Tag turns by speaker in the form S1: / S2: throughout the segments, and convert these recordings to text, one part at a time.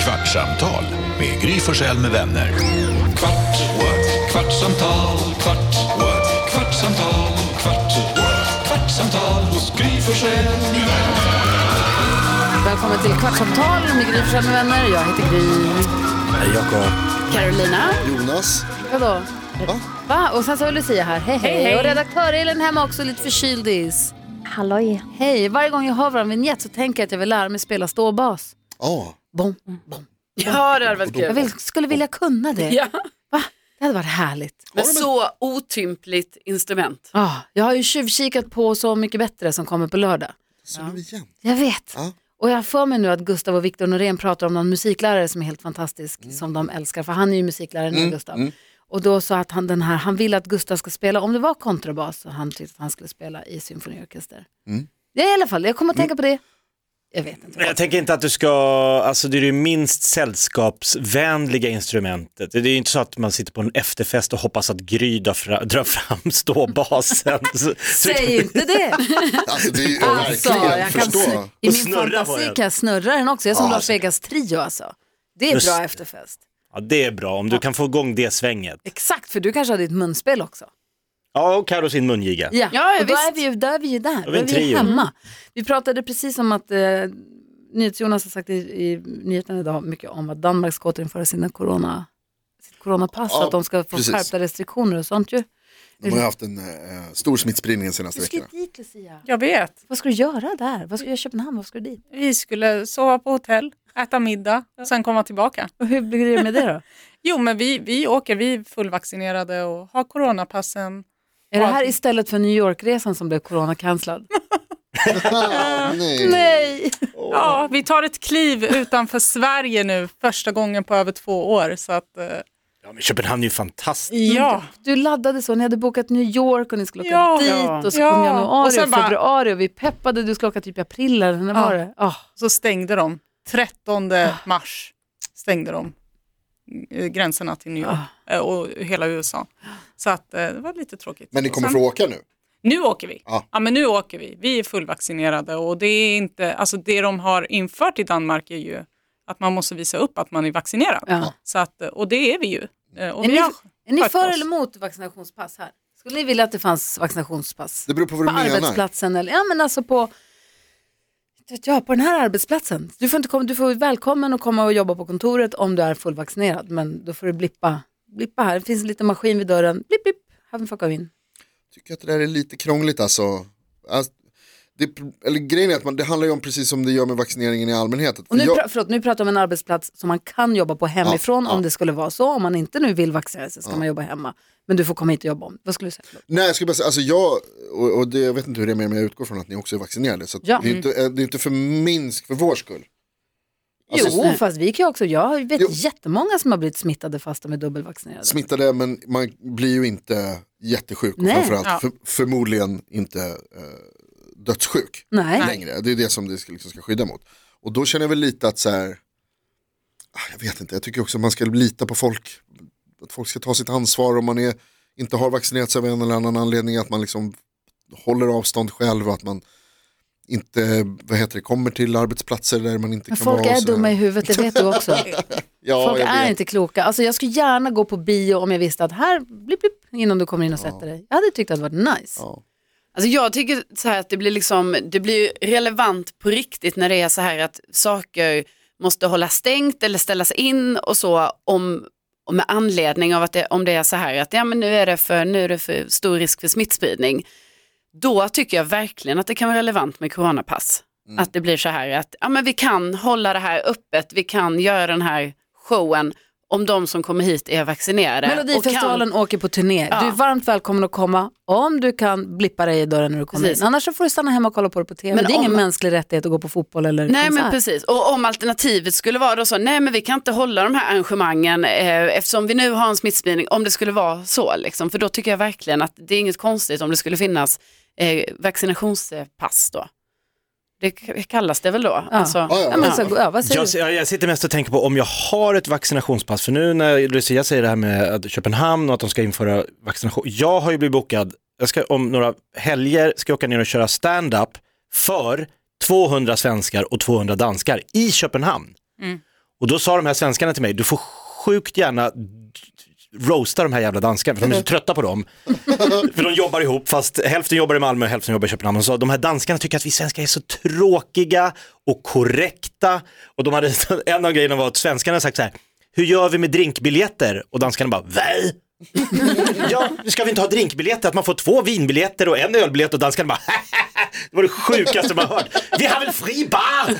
S1: Kvartsamtal med Gry Forssell med vänner. Kvart, what? kvartsamtal, kvart, what? kvartsamtal, kvart, what? kvartsamtal hos Gry Forssell med vänner.
S2: Välkommen till Kvartsamtal med Gry Forssell med vänner. Jag heter Gry. Jakob. Carolina.
S3: Jonas.
S2: Vadå? Va? Och sen så är Lucia här. Hej, hej.
S4: Hej, hej.
S2: Och redaktör Elin hemma också, lite förkyldis.
S4: Halloj.
S2: Hej. Varje gång jag hör vår vignett så tänker jag att jag vill lära mig spela ståbas.
S3: Ja.
S2: Bom.
S5: Ja, det hade varit
S2: Jag
S5: kul.
S2: vill, skulle vilja kunna det.
S5: Ja.
S2: Va? Det hade varit härligt.
S5: Men så otympligt instrument.
S2: Ah, jag har ju tjuvkikat på Så mycket bättre som kommer på lördag.
S3: Så nu igen.
S2: Jag vet.
S3: Ja.
S2: Och jag får mig nu att Gustav och Viktor Norén pratar om någon musiklärare som är helt fantastisk,
S3: Mm.
S2: som de älskar, för han är ju musiklärare nu, Gustav. Och då sa att han den här, han vill att Gustav ska spela, om det var kontrabas, så han tyckte att han skulle spela i symfoniorkester.
S3: Mm.
S2: Ja, i alla fall, jag kommer att tänka på det. Jag vet inte.
S6: Jag tänker inte att du ska, alltså det är det minst sällskapsvänliga instrumentet. Det är ju inte så att man sitter på en efterfest och hoppas att Gry drar fram, drar fram ståbasen. Så-
S2: Säg inte det!
S3: Alltså det är ju
S2: Alltså,
S3: verkligen
S2: jag
S3: jag
S2: kan,
S3: förstå.
S2: sn- I min
S6: Och snurra på
S2: fantasi
S6: den.
S2: kan jag snurra den också, jag är som
S3: Ja,
S2: Lars
S3: alltså.
S2: Vegas trio alltså. Det är
S6: Just
S2: bra
S6: det.
S2: efterfest.
S6: Ja, det är bra, om du kan få igång det svänget.
S2: Exakt, för du kanske har ditt munspel också.
S6: Ja, och Carro sin mungiga.
S2: Ja,
S5: Ja, ja,
S2: och då
S5: visst.
S2: är vi ju där. Är vi ju där. Då
S6: är
S2: är
S6: en
S2: vi ju
S6: trio.
S2: hemma. Vi pratade precis om att eh, NyhetsJonas har sagt i, i nyheterna idag mycket om att Danmark ska återinföra sina corona, sitt coronapass,
S3: Ja,
S2: att de ska få
S3: precis.
S2: skärpta restriktioner och sånt ju.
S3: De har ju haft en eh, stor smittspridning de senaste
S2: Du ska
S3: veckorna.
S2: dit Lucia.
S4: Jag vet.
S2: Vad ska du göra där? Vad ska du göra i Köpenhamn? Vad ska du dit?
S4: Vi skulle sova på hotell, äta middag, sen komma tillbaka.
S2: Och hur blir det med det då?
S4: Jo, men vi, vi åker, vi är fullvaccinerade och har coronapassen.
S2: Är det här istället för New York-resan som blev coronacancellad? Mm.
S3: Ah, nej.
S2: Nej!
S4: Ja, vi tar ett kliv utanför Sverige nu, första gången på över två år. Så att, eh,
S6: Ja, men Köpenhamn är ju fantastiskt.
S3: Mm.
S4: ja.
S2: Du laddade så, ni hade bokat New York och ni skulle åka
S4: Ja.
S2: dit och så
S4: Ja.
S2: kom januari
S4: Och
S2: och,
S4: sen bara-
S2: februari och vi peppade, du skulle åka typ i april eller när
S4: Ja.
S2: var det? Ah.
S4: Så stängde de, 13
S3: Ah.
S4: mars stängde de eh, gränserna till New York
S3: Ah.
S4: eh, och hela USA. Så att, eh, det var lite tråkigt.
S3: Men ni
S4: Och
S3: kommer
S4: sen-
S3: få åka nu?
S4: Nu åker vi.
S3: Ja.
S4: Ja. men nu åker vi. Vi är fullvaccinerade och det är inte, alltså det de har infört i Danmark är ju att man måste visa upp att man är vaccinerad.
S2: Ja.
S4: Så att, och det är vi ju. Eh, Och
S2: Är
S4: vi
S2: ni,
S4: har
S2: är ni
S4: skött
S2: för
S4: oss.
S2: eller emot vaccinationspass här? Skulle ni vilja att det fanns vaccinationspass?
S3: Det beror på vad
S2: På
S3: du menar.
S2: arbetsplatsen eller, ja men alltså på, inte vet jag, på den här arbetsplatsen. Du får inte komma, du får välkommen att komma och jobba på kontoret om du är fullvaccinerad, men då får du blippa, blippa här. Det finns en liten maskin vid dörren, blipp blipp, här får du in.
S3: Tycker att det där är lite krångligt alltså. alltså det, är pro- eller grejen är att man, det handlar ju om precis som det gör med vaccineringen i allmänhet. Att
S2: Och nu,
S3: jag-
S2: pra, förlåt, nu pratar vi om en arbetsplats som man kan jobba på hemifrån
S3: Ja, ja.
S2: om det skulle vara så. Om man inte nu vill vaccinera sig ska man jobba hemma. Men du får komma hit och jobba om. Vad skulle du säga? Förlåt.
S3: Nej, jag skulle bara säga, alltså jag, och, och det, jag vet inte hur det är med er, men jag utgår från att ni också är vaccinerade. Så att
S2: Ja.
S3: det, är inte, eh, det är inte för minsk, för vår skull. Alltså,
S2: jo, fast vi kan ju också, jag vet
S3: Jo.
S2: jättemånga som har blivit smittade fast de är dubbelvaccinerade.
S3: smittade men man blir ju inte jättesjuk och
S2: Nej.
S3: framförallt
S4: Ja.
S3: för, förmodligen inte eh, dödssjuk
S2: Nej.
S3: längre. Det är det som det ska, liksom ska skydda mot. Och då känner jag väl lite att så här, ah, jag vet inte, jag tycker också att man ska lita på folk, att folk ska ta sitt ansvar om man är, inte har vaccinerats av en eller annan anledning, att man liksom håller avstånd själv och att man inte, vad heter det, kommer till arbetsplatser där man inte
S2: Men
S3: kan
S2: folk
S3: vara. och
S2: är
S3: så här.
S2: dumma i huvudet, det vet du också.
S3: Ja,
S2: folk
S3: jag
S2: är
S3: vet.
S2: inte kloka. Alltså jag skulle gärna gå på bio om jag visste att här, blipp, blipp, innan du kommer in och sätter dig. Jag hade tyckt att det varit nice.
S3: Ja.
S5: Alltså jag tycker så här att det blir, liksom, det blir relevant på riktigt när det är så här att saker måste hålla stängt eller ställas in och så om, och med anledning av att det, om det är så här att ja, men nu, är det för, nu är det för stor risk för smittspridning. Då tycker jag verkligen att det kan vara relevant med coronapass. Att det blir så här att ja, men vi kan hålla det här öppet, vi kan göra den här showen om de som kommer hit är vaccinerade. och kan-
S2: Melodifestivalen åker på turné.
S5: Ja.
S2: Du är varmt välkommen att komma om du kan blippa dig i dörren när du kommer
S5: Precis.
S2: in. Annars så får du stanna hemma och kolla på det på tv. Men
S5: Men
S2: det är ingen
S5: om-
S2: mänsklig rättighet att gå på fotboll eller
S5: Nej
S2: konsert.
S5: men precis, och om alternativet skulle vara då så, nej men vi kan inte hålla de här arrangemangen eh, eftersom vi nu har en smittspridning, om det skulle vara så liksom, för då tycker jag verkligen att det är inget konstigt om det skulle finnas eh, vaccinationspass då. Det k- kallas det väl då?
S2: Ja.
S5: Alltså,
S3: ja, ja.
S2: Ja, men så, ja, vad säger
S6: Jag,
S2: du?
S6: jag, jag sitter mest och tänker på om jag har ett vaccinationspass, för nu när Lucia säger det här med att Köpenhamn och att de ska införa vaccination. Jag har ju blivit bokad, jag ska om några helger ska jag åka ner och köra
S2: Mm.
S6: stand-up för 200 svenskar och 200 danskar i Köpenhamn. Och då sa de här svenskarna till mig, du får sjukt gärna roasta de här jävla danskarna, för de är så trötta på dem. för de jobbar ihop, fast hälften jobbar i Malmö och hälften jobbar i Köpenhamn. Och så, de här danskarna tycker att vi svenskar är så tråkiga och korrekta. Och de hade, en av grejerna var att svenskarna hade sagt så här, hur gör vi med drinkbiljetter? Och danskarna bara, väl? ja, ska vi inte ha drinkbiljetter? Att man får två vinbiljetter och en ölbiljett och danskarna bara Det var det sjukaste man hört. Vi har väl fri bar!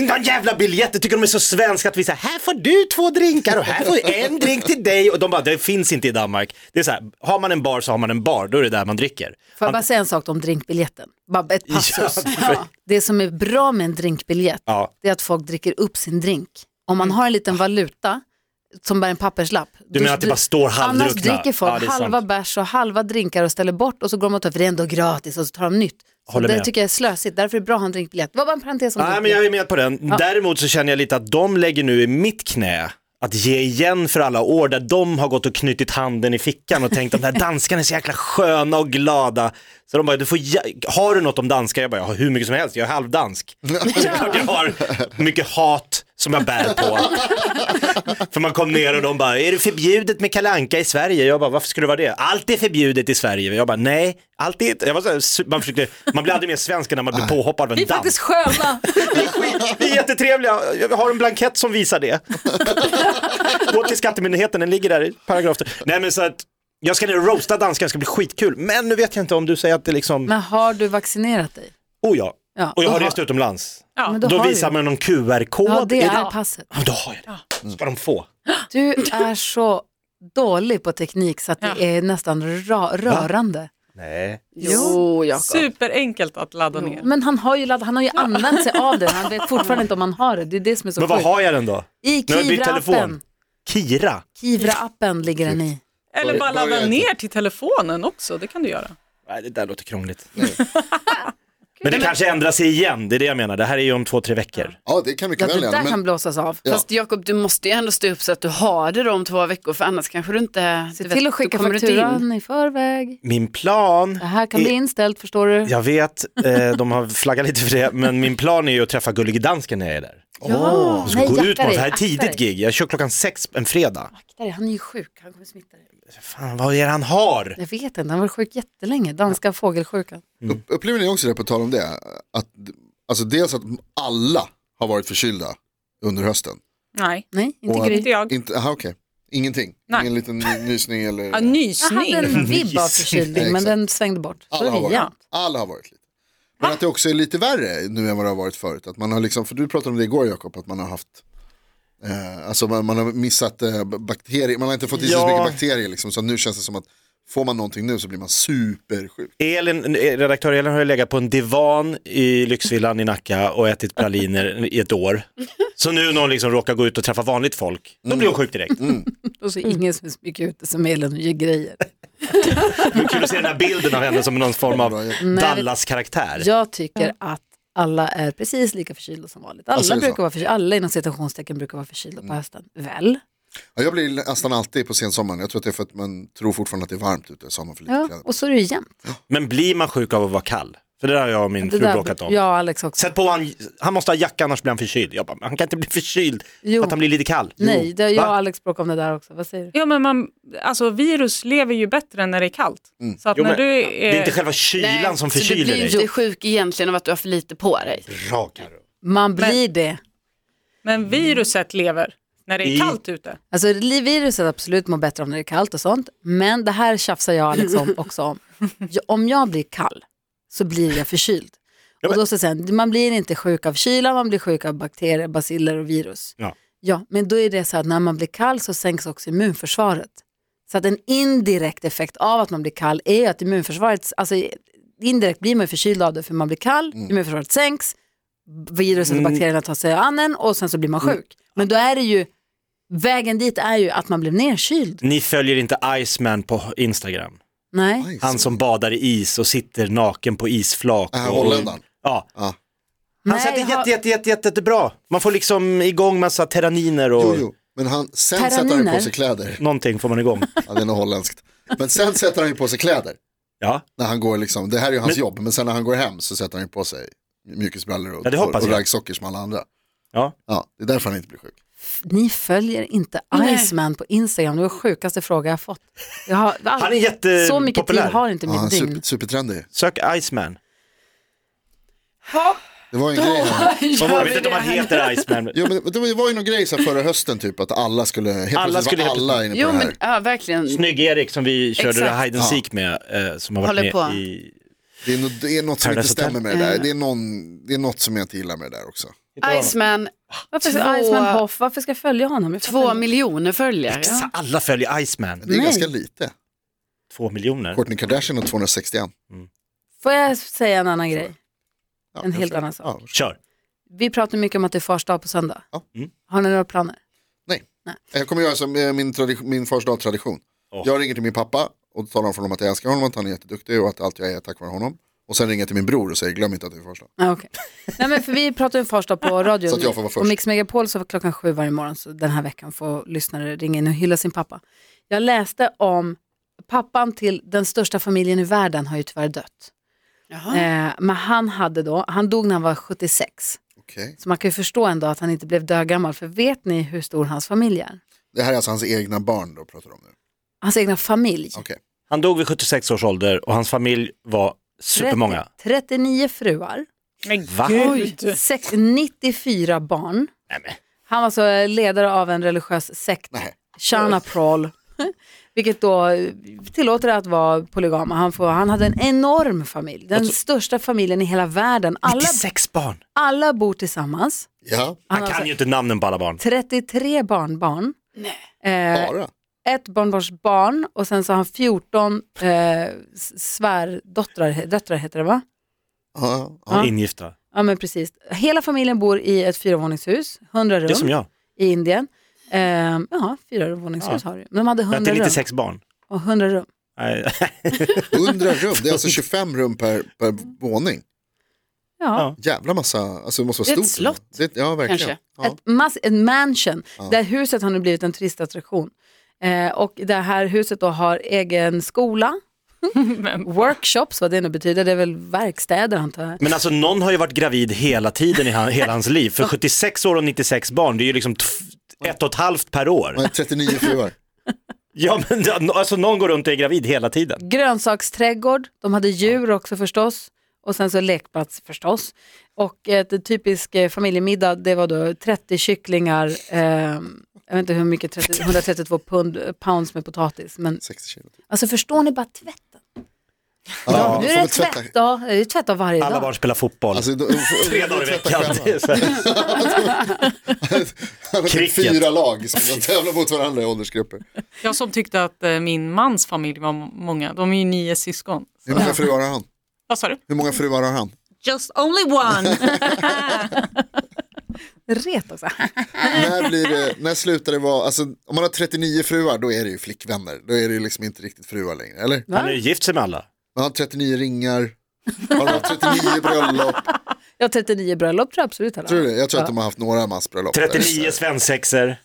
S6: Någon jävla biljetter tycker de är så svenska att vi säger här får du två drinkar och här får du en drink till dig och de bara det finns inte i Danmark. Det är så här, har man en bar så har man en bar, då är det där man dricker.
S2: Får jag bara säga en sak om drinkbiljetten? Bara ett passus. Det som är bra med en drinkbiljett,
S6: Ja.
S2: det är att folk dricker upp sin drink. Om man har en liten valuta som bär en papperslapp. Du
S6: menar att det bara står
S2: Annars
S6: halvdruckna?
S2: dricker
S6: Ja,
S2: folk
S6: det är
S2: halva
S6: sant.
S2: bärs och halva drinkar och ställer bort och så går de och tar, för det är ändå gratis och så tar de nytt. Så
S6: Håller
S2: det
S6: med.
S2: tycker jag är slösigt, därför är det bra att ha en drinkbiljett. Det var bara en parentes om
S6: Nej men
S2: drinkbiljett.
S6: jag är med på den. Däremot så känner jag lite att de lägger nu i mitt knä att ge igen för alla år där de har gått och knutit handen i fickan och tänkt de där danskarna är så jäkla sköna och glada. Så de bara, du får, jä- har du något om danskar? Jag bara, jag har hur mycket som helst, jag är halvdansk. Så klart jag har mycket hat som jag bär på. för man kom ner och de bara, är det förbjudet med kalanka i Sverige? Jag bara, varför skulle det vara det? Allt är förbjudet i Sverige. Jag bara, nej, allt är inte. Jag var så här, man, försökte, man blir aldrig mer svensk än när man blir påhoppad av
S2: Vi
S6: en
S2: är faktiskt
S6: dansk.
S2: sköna.
S6: Vi är jättetrevliga, jag har en blankett som visar det. Gå till skattemyndigheten, den ligger där i paragraf Nej men så att jag ska ner och roasta danskan, det ska bli skitkul. Men nu vet jag inte om du säger att det liksom,
S2: Men har du vaccinerat dig?
S6: oh ja,
S2: Ja,
S6: och jag har
S2: då har-
S6: rest utomlands.
S4: Ja.
S2: Men
S6: Då
S2: har du
S6: visar
S2: ju.
S6: man någon QR-kod.
S2: Ja, det
S6: Är
S2: är passet.
S6: Ja, Då har jag det. Ska de få.
S2: Du är så dålig på teknik så att det
S4: Ja.
S2: är nästan ra- rörande.
S6: Nej.
S5: Jo, Jakob.
S4: Superenkelt att ladda ner.
S2: Men han har ju, ladd- han har ju använt sig av det. Han vet fortfarande inte om han har det. Det är det som är så
S6: Men vad har jag den då?
S2: I
S6: Nu har jag bytt telefon.
S2: Kivra-appen.
S6: Kira.
S2: Kivra-appen ligger den i.
S4: Eller bara
S3: Börja
S4: ladda
S3: inte.
S4: ner till telefonen också, det kan du göra.
S6: Nej, det där låter krångligt. men det kanske ändrar sig igen, det är det jag menar. Det här är ju om två, tre veckor.
S3: Ja, det kan
S2: Ja,
S3: mycket
S2: det
S3: väl
S2: där
S3: hända.
S2: kan
S3: Men
S2: blåsas av.
S3: Ja.
S5: Fast Jakob, du måste ju ändå stå upp så att du har det då om två veckor för annars kanske du inte...
S2: Se
S5: du vet,
S2: till
S5: då
S2: att skicka
S5: kommer du inte in.
S2: fakturan i förväg.
S6: Min plan.
S2: Det här kan bli
S6: är-
S2: inställt, förstår du.
S6: Jag vet, eh, de har flaggat lite för det, men min plan är ju att träffa Gullige Dansken när jag är där.
S2: Ja,
S6: Jag ska
S2: nej,
S6: gå ut
S2: akta
S6: med det
S2: dig,
S6: här är
S2: akta
S6: tidigt
S2: dig.
S6: gig, jag kör klockan sex en fredag.
S2: Akta dig, han är ju sjuk, han kommer smitta dig.
S6: Fan, vad är det han har?
S2: Jag vet inte, han har varit sjuk jättelänge, danska fågelsjukan.
S3: upp- upplever ni också det på tal om det? Att, alltså dels att alla har varit förkylda under hösten.
S4: Nej,
S2: Nej, inte
S3: Och-
S4: inte
S2: Gry.
S4: jag.
S3: Inte, aha, okej. Ingenting?
S4: Nej.
S3: Ingen liten nysning eller?
S4: Ja,
S2: Jag hade
S4: nysning.
S2: en vibb av förkylning, men
S3: Exakt.
S2: den svängde bort. Så
S3: Alla har
S2: är det
S3: varit,
S2: jämt.
S3: alla har varit lite. Men att det också är lite värre nu än vad det har varit förut. Att man har liksom, för du pratade om det igår Jakob, att man har haft eh, Alltså man, man har missat eh, b- bakterier, man har inte fått i sig så
S6: Ja.
S3: mycket bakterier liksom. Så nu känns det som att får man någonting nu så blir man supersjuk.
S6: Elin, eh, redaktör Elin har ju legat på en divan i Lyxvillan i Nacka och ätit praliner i ett år. Så nu när hon liksom råkar gå ut och träffa vanligt folk, då blir hon sjuk direkt.
S2: Mm. Och så ingen som är så mycket ute som Elin och gör grejer.
S6: Det är kul att se den här bilden av henne som någon form av
S2: Mm.
S6: Dallas-karaktär.
S2: Jag tycker att alla är precis lika förkylda som vanligt. Alla,
S3: Alltså, är det så?
S2: brukar vara förkylda, alla inom citationstecken brukar vara förkylda
S6: Mm.
S2: på hösten. Väl?
S3: Ja, jag blir nästan alltid på sensommaren, jag tror att det är för att man tror fortfarande att det är varmt ute, så har man för lite
S2: Ja,
S3: kläder på.
S2: och så är det ju jämnt.
S6: Men blir man sjuk av att vara kall? För det där har jag och min
S2: Det
S6: fru bråkat om.
S2: jag och Alex också.
S6: Sätt på han, han måste ha jacka annars blir han förkyld. Jag bara, men han kan inte bli förkyld
S2: Jo.
S6: för att han blir lite kall.
S2: Nej, det, jag
S6: Va?
S2: och Alex bråkade om det där också. Vad säger du?
S4: Ja, men man, alltså, virus lever ju bättre när det är kallt. Så
S6: Mm.
S4: att
S6: Jo,
S4: när
S6: men
S4: du är,
S6: Det är inte själva kylan
S5: Nej,
S6: som
S5: så du
S6: förkyler
S5: blir ju
S6: dig.
S5: inte sjuk egentligen av att du har för lite på dig.
S6: Bra, Karo.
S2: Man blir det.
S4: Men viruset lever när det
S6: I-
S4: är kallt ute.
S2: Alltså li- viruset absolut mår bättre om det är kallt och sånt. Men det här tjafsar jag och Alex om också om. Jag- Om jag blir kall så blir jag förkyld.
S6: Ja,
S2: Och
S6: men-
S2: då så sen, man blir inte sjuk av kyla, man blir sjuk av bakterier, baciller och virus.
S6: Ja.
S2: Ja, men då är det så att när man blir kall så sänks också immunförsvaret. Så att en indirekt effekt av att man blir kall är ju att immunförsvaret, alltså indirekt blir man ju förkyld av det för man blir kall,
S6: Mm.
S2: immunförsvaret sänks, viruset och bakterierna tar sig an en och sen så blir man
S6: Mm.
S2: sjuk. Men då är det ju, vägen dit är ju att man blev nerkyld.
S6: Ni följer inte Iceman på Instagram?
S2: Nej,
S3: Nice.
S6: Han som badar i is och sitter naken på isflak.
S3: Äh,
S6: och,
S3: Holländaren.
S6: ja.
S3: Ja.
S6: Han
S2: Nej,
S6: säger att det är
S2: jag
S6: jätte, jätte, jätte, jätte, jättebra. Man får liksom igång massa terraniner och
S3: Jo, jo. Men han, sen sätter han ju
S2: Terraniner.
S3: på sig kläder.
S6: någonting får man igång.
S3: Ja, det är nog holländskt. Men sen sätter han ju på sig kläder.
S6: Ja,
S3: När han går liksom, det här är ju hans
S6: Men-
S3: jobb, men sen när han går hem så sätter han ju på sig mjukisbrallor och,
S6: Ja, det hoppas
S3: och, och
S6: jag.
S3: raggsockor som alla andra.
S6: ja.
S3: Ja, det är därför han inte blir sjuk.
S2: f- ni följer inte Iceman på Instagram, det var sjukaste fråga jag fått. Jag har,
S6: Han är jättepopulär.
S2: så mycket tid har inte
S3: Ja, han är
S2: mitt dygn.
S3: super, supertrendig.
S6: Sök Iceman.
S3: Det var en grej här.
S6: Jag vet inte om han heter Iceman.
S3: Jo, men det var- det var ju någon grej så här förra hösten typ att alla skulle, helt
S6: Alla
S3: alla
S6: skulle
S3: var
S6: helt
S3: alla inne på
S5: Jo
S3: det här.
S5: men ja, verkligen.
S6: Snygg-Erik som vi körde
S5: Exakt.
S6: det Hide and Seek med, eh, som har varit
S5: Håller
S6: med
S5: på.
S6: i...
S3: Det är, no- det är något som
S6: Paradise
S3: inte stämmer
S6: Hotel.
S3: med det
S2: Mm.
S3: där. Det är, någon, det är något som jag inte gillar med det där också.
S5: Iceman,
S2: Varför ska,
S5: Två-
S2: Iceman Hoff, varför ska jag följa honom? Jag fattar
S5: två
S2: inte.
S5: miljoner följare.
S6: Sa- Alla följer Iceman.
S3: Det är
S2: Nej.
S3: ganska lite.
S6: Två miljoner.
S3: Kourtney Kardashian har 261.
S2: Får jag säga en annan grej?
S3: Ja,
S2: En helt
S3: kanske.
S2: annan sak.
S3: Ja.
S6: Kör.
S2: Vi pratar mycket om att det är fars dag på söndag.
S3: Ja.
S6: Mm.
S2: Har ni några planer?
S3: Jag kommer göra som eh, min, tradition- min fars dag-tradition.
S6: Åh.
S3: Jag ringer till min pappa och talar om för honom att jag älskar honom, att han är jätteduktig och att allt jag är är tack vare honom. Och sen ringer jag till min bror och säger glöm inte att det är fars dag.
S2: Ah, okay. Nej, men för vi pratar ju om fars dag på radio.
S3: Så att jag får vara först.
S2: Och Mix Megapol så var klockan sju varje morgon så den här veckan får lyssnare ringa in och hylla sin pappa. Jag läste om pappan till den största familjen i världen har ju tyvärr dött.
S5: Jaha.
S2: Eh, men han hade då, han dog när han var 76.
S3: Okej.
S2: Så man kan ju förstå ändå att han inte blev dögammal. För vet ni hur stor hans familj är?
S3: Det här är alltså hans egna barn då pratar om nu.
S2: Hans egna familj.
S3: Okej.
S6: Han dog vid 76 års ålder och hans familj var supermånga.
S2: 30, 39 fruar.
S4: Men
S6: Va?
S4: gud.
S2: Sex- 94 barn.
S6: Nej, men.
S2: Han var så eh, ledare av en religiös sekt,
S3: Nej.
S2: Shana Prol, vilket då eh, tillåter det att vara polygama. Han, får, han hade en enorm familj, den största familjen i hela världen. Alla,
S6: 96 barn.
S2: alla bor tillsammans.
S3: Ja,
S2: Han
S6: Han
S2: har
S6: kan
S2: alltså
S6: ju inte namnen på alla barn.
S2: 33 barnbarn. Eh,
S3: bara.
S2: ett barnbarnsbarn och sen så har han 14 eh, s- svärdöttrar, döttrar heter det va?
S3: Ja, ja.
S2: Ja.
S6: Ingifta.
S2: Ja men precis. Hela familjen bor i ett fyravåningshus, 100
S6: Det är som
S2: rum
S6: jag.
S2: i Indien. Ehm, ja, fyravåningshus har du. Men de hade
S6: Jag har
S2: 100
S6: inte
S2: rum.
S6: riktigt sex barn.
S2: Och 100 rum.
S6: Nej.
S3: 100 rum, det är alltså 25 rum per, per våning.
S2: Ja.
S3: Jävla massa, alltså det måste vara
S5: Det är
S3: stort.
S5: ett slott.
S3: Det, ja, verkligen.
S5: Kanske.
S3: Ja.
S2: Ett, mass- en mansion,
S3: Ja.
S2: där huset har nu blivit en turistattraktion. Eh, och det här huset då har egen skola,
S4: Men,
S2: workshops, vad det nu betyder, det är väl verkstäder antar jag.
S6: Men alltså någon har ju varit gravid hela tiden i han, hela hans liv. För 76 år och 96 barn, det är ju liksom tf- ett och ett halvt per år.
S3: Man är 39 fruar.
S6: Ja men det- alltså någon går runt och är gravid hela tiden.
S2: grönsaksträdgård, de hade djur också förstås och sen så lekplats förstås. Och ett typisk eh, familjemiddag, det var då 30 kycklingar, eh, jag vet inte hur mycket, 30, 132 pund, eh, pounds med potatis. Men
S3: 60 kilo.
S2: alltså förstår ni bara tvätten?
S3: Ja,
S2: nu
S3: de får
S2: är det
S3: väl tvätta-
S2: tvättdag, det är tvättdag varje
S6: Alla
S2: dag.
S6: barn spelar fotboll.
S3: Alltså, de,
S6: Tre dagar i veckan. Det är så här.
S3: Han har typ
S6: Cricket.
S3: fyra lag som de tävlar mot varandra i åldersgrupper.
S4: jag som tyckte att eh, min mans familj var m- många, de är ju nio syskon.
S3: Hur många fruar har han?
S4: Vad sa du?
S3: Hur många fruar har han?
S4: Just only one.
S2: Ret alltså. också.
S3: när, blir det, när slutar det vara, alltså, om man har 39 fruar då är det ju flickvänner. Då är det ju liksom inte riktigt fruar längre, eller?
S6: Han har ju gift sig med alla.
S3: Man har 39 ringar, man har haft 39 bröllop.
S2: Jag har 39 bröllop tror jag absolut. alla
S3: Tror du det? Jag tror att
S2: Ja.
S3: de har haft några massbröllop. där.
S6: 39 svensexer.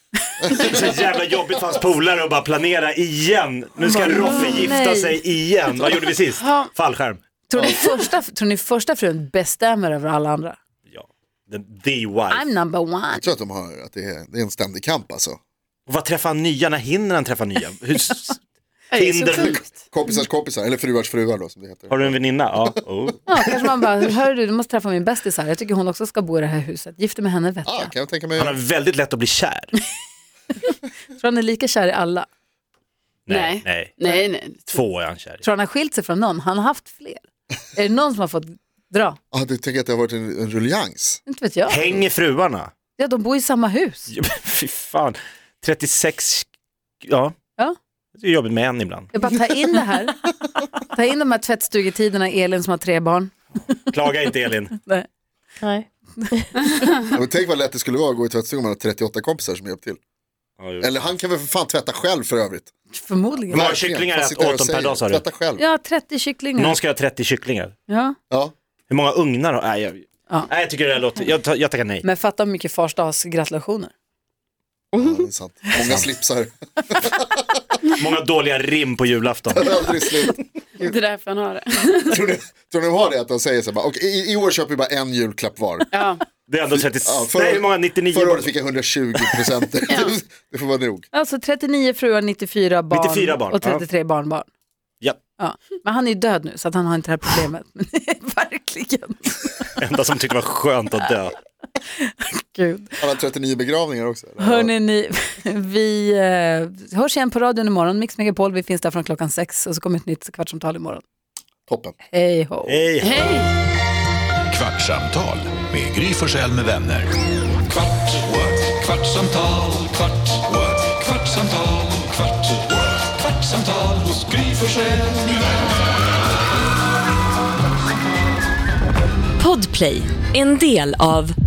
S6: Det är så jävla jobbigt för hans polare att bara planera igen. Nu ska Roffe gifta
S2: nej.
S6: sig igen. Vad gjorde vi sist? Fallskärm.
S2: Tror, ni första, tror ni första frun bestämmer över alla andra?
S6: Ja. The, the wife.
S2: I'm number one.
S3: Jag tror att de har, att det är, det är en ständig kamp alltså.
S6: Och vad träffar han nya? När hinner han träffa nya? Hur, s-
S5: Det är så
S6: Tinder.
S5: sjukt.
S3: Kompisars kompisar, eller fruars fruar då som det heter.
S6: har du en väninna? Ja. Oh.
S2: Ja, kanske man bara, hör du, du måste träffa min bästis här. Jag tycker hon också ska bo i det här huset. Gift dig med henne vet
S3: Ah,
S2: jag.
S3: kan jag tänka
S6: Han
S3: mig.
S6: har väldigt lätt att bli kär.
S2: Tror han är lika kär i alla?
S6: Nej.
S5: Nej.
S6: nej.
S5: Nej, nej.
S6: Två är han kär i.
S2: Tror han har skilt sig från någon? Han har haft fler. Är det någon som har fått dra?
S3: Ah, du tänker att det har varit en, en ruljans?
S2: Inte vet jag.
S6: Hänger fruarna?
S2: Ja, de bor i samma hus.
S6: Fy fan. 36, ja.
S2: Ja.
S6: Det är jobbigt med en ibland.
S2: Jag bara tar in det här. Ta in de här tvättstugetiderna, Elin som har tre barn.
S6: Klaga inte Elin.
S2: Nej.
S3: Ja, men tänk vad lätt det skulle vara att gå i tvättstugan om man har 38 kompisar som hjälper till.
S6: Ja, jo.
S3: Eller han kan väl för fan tvätta själv för övrigt.
S2: Förmodligen.
S6: Bra. Några
S3: Verkligen,
S6: kycklingar
S3: fast
S6: ät
S3: sitter här
S6: åt dem
S3: och
S6: per
S3: säger,
S6: dag, sa du?
S3: Tvätta själv.
S2: Ja, 30 kycklingar.
S6: Någon ska ha 30 kycklingar.
S2: Ja.
S3: Ja.
S6: Hur många ugnar har... Nej, jag,
S2: Ja.
S6: nej, jag tycker det där låter... Jag, tar- jag tackar nej.
S2: Men fatta hur mycket fars dags gratulationer.
S3: Ja, det är sant. Många slipsar.
S6: Många dåliga rim på julafton.
S3: Aldrig slut.
S5: Det är därför han har det.
S3: Tror ni, tror ni de har det att de säger så här, bara, "Okej, i, i år köper vi bara en julklapp var.
S5: Ja.
S6: Det är ändå 30,
S3: Ja, förra-
S6: nej hur många, 99
S3: Förra året fick jag 120 presenter. Det får vara nog.
S2: Alltså 39 fruar, 94 barn,
S6: 94 barn,
S2: och 33 barnbarn.
S6: Ja,
S2: Ja. Men han är ju död nu så att han har inte det här problemet. Men Verkligen.
S6: enda som tyckte det var skönt att dö.
S2: Gud.
S3: Han har 39 begravningar också.
S2: Hörrni, ni, vi eh, hörs igen på radion imorgon. Mix Megapol, vi finns där från klockan sex och så kommer ett nytt kvartsamtal imorgon.
S3: Toppen.
S2: Hej ho.
S6: Hej.
S1: Kvartsamtal med Gry Forssell med vänner. Kvart, what? kvartsamtal, kvart, what? kvartsamtal, kvart, what? kvartsamtal hos Gry Forssell med vänner.
S7: Podplay, en del av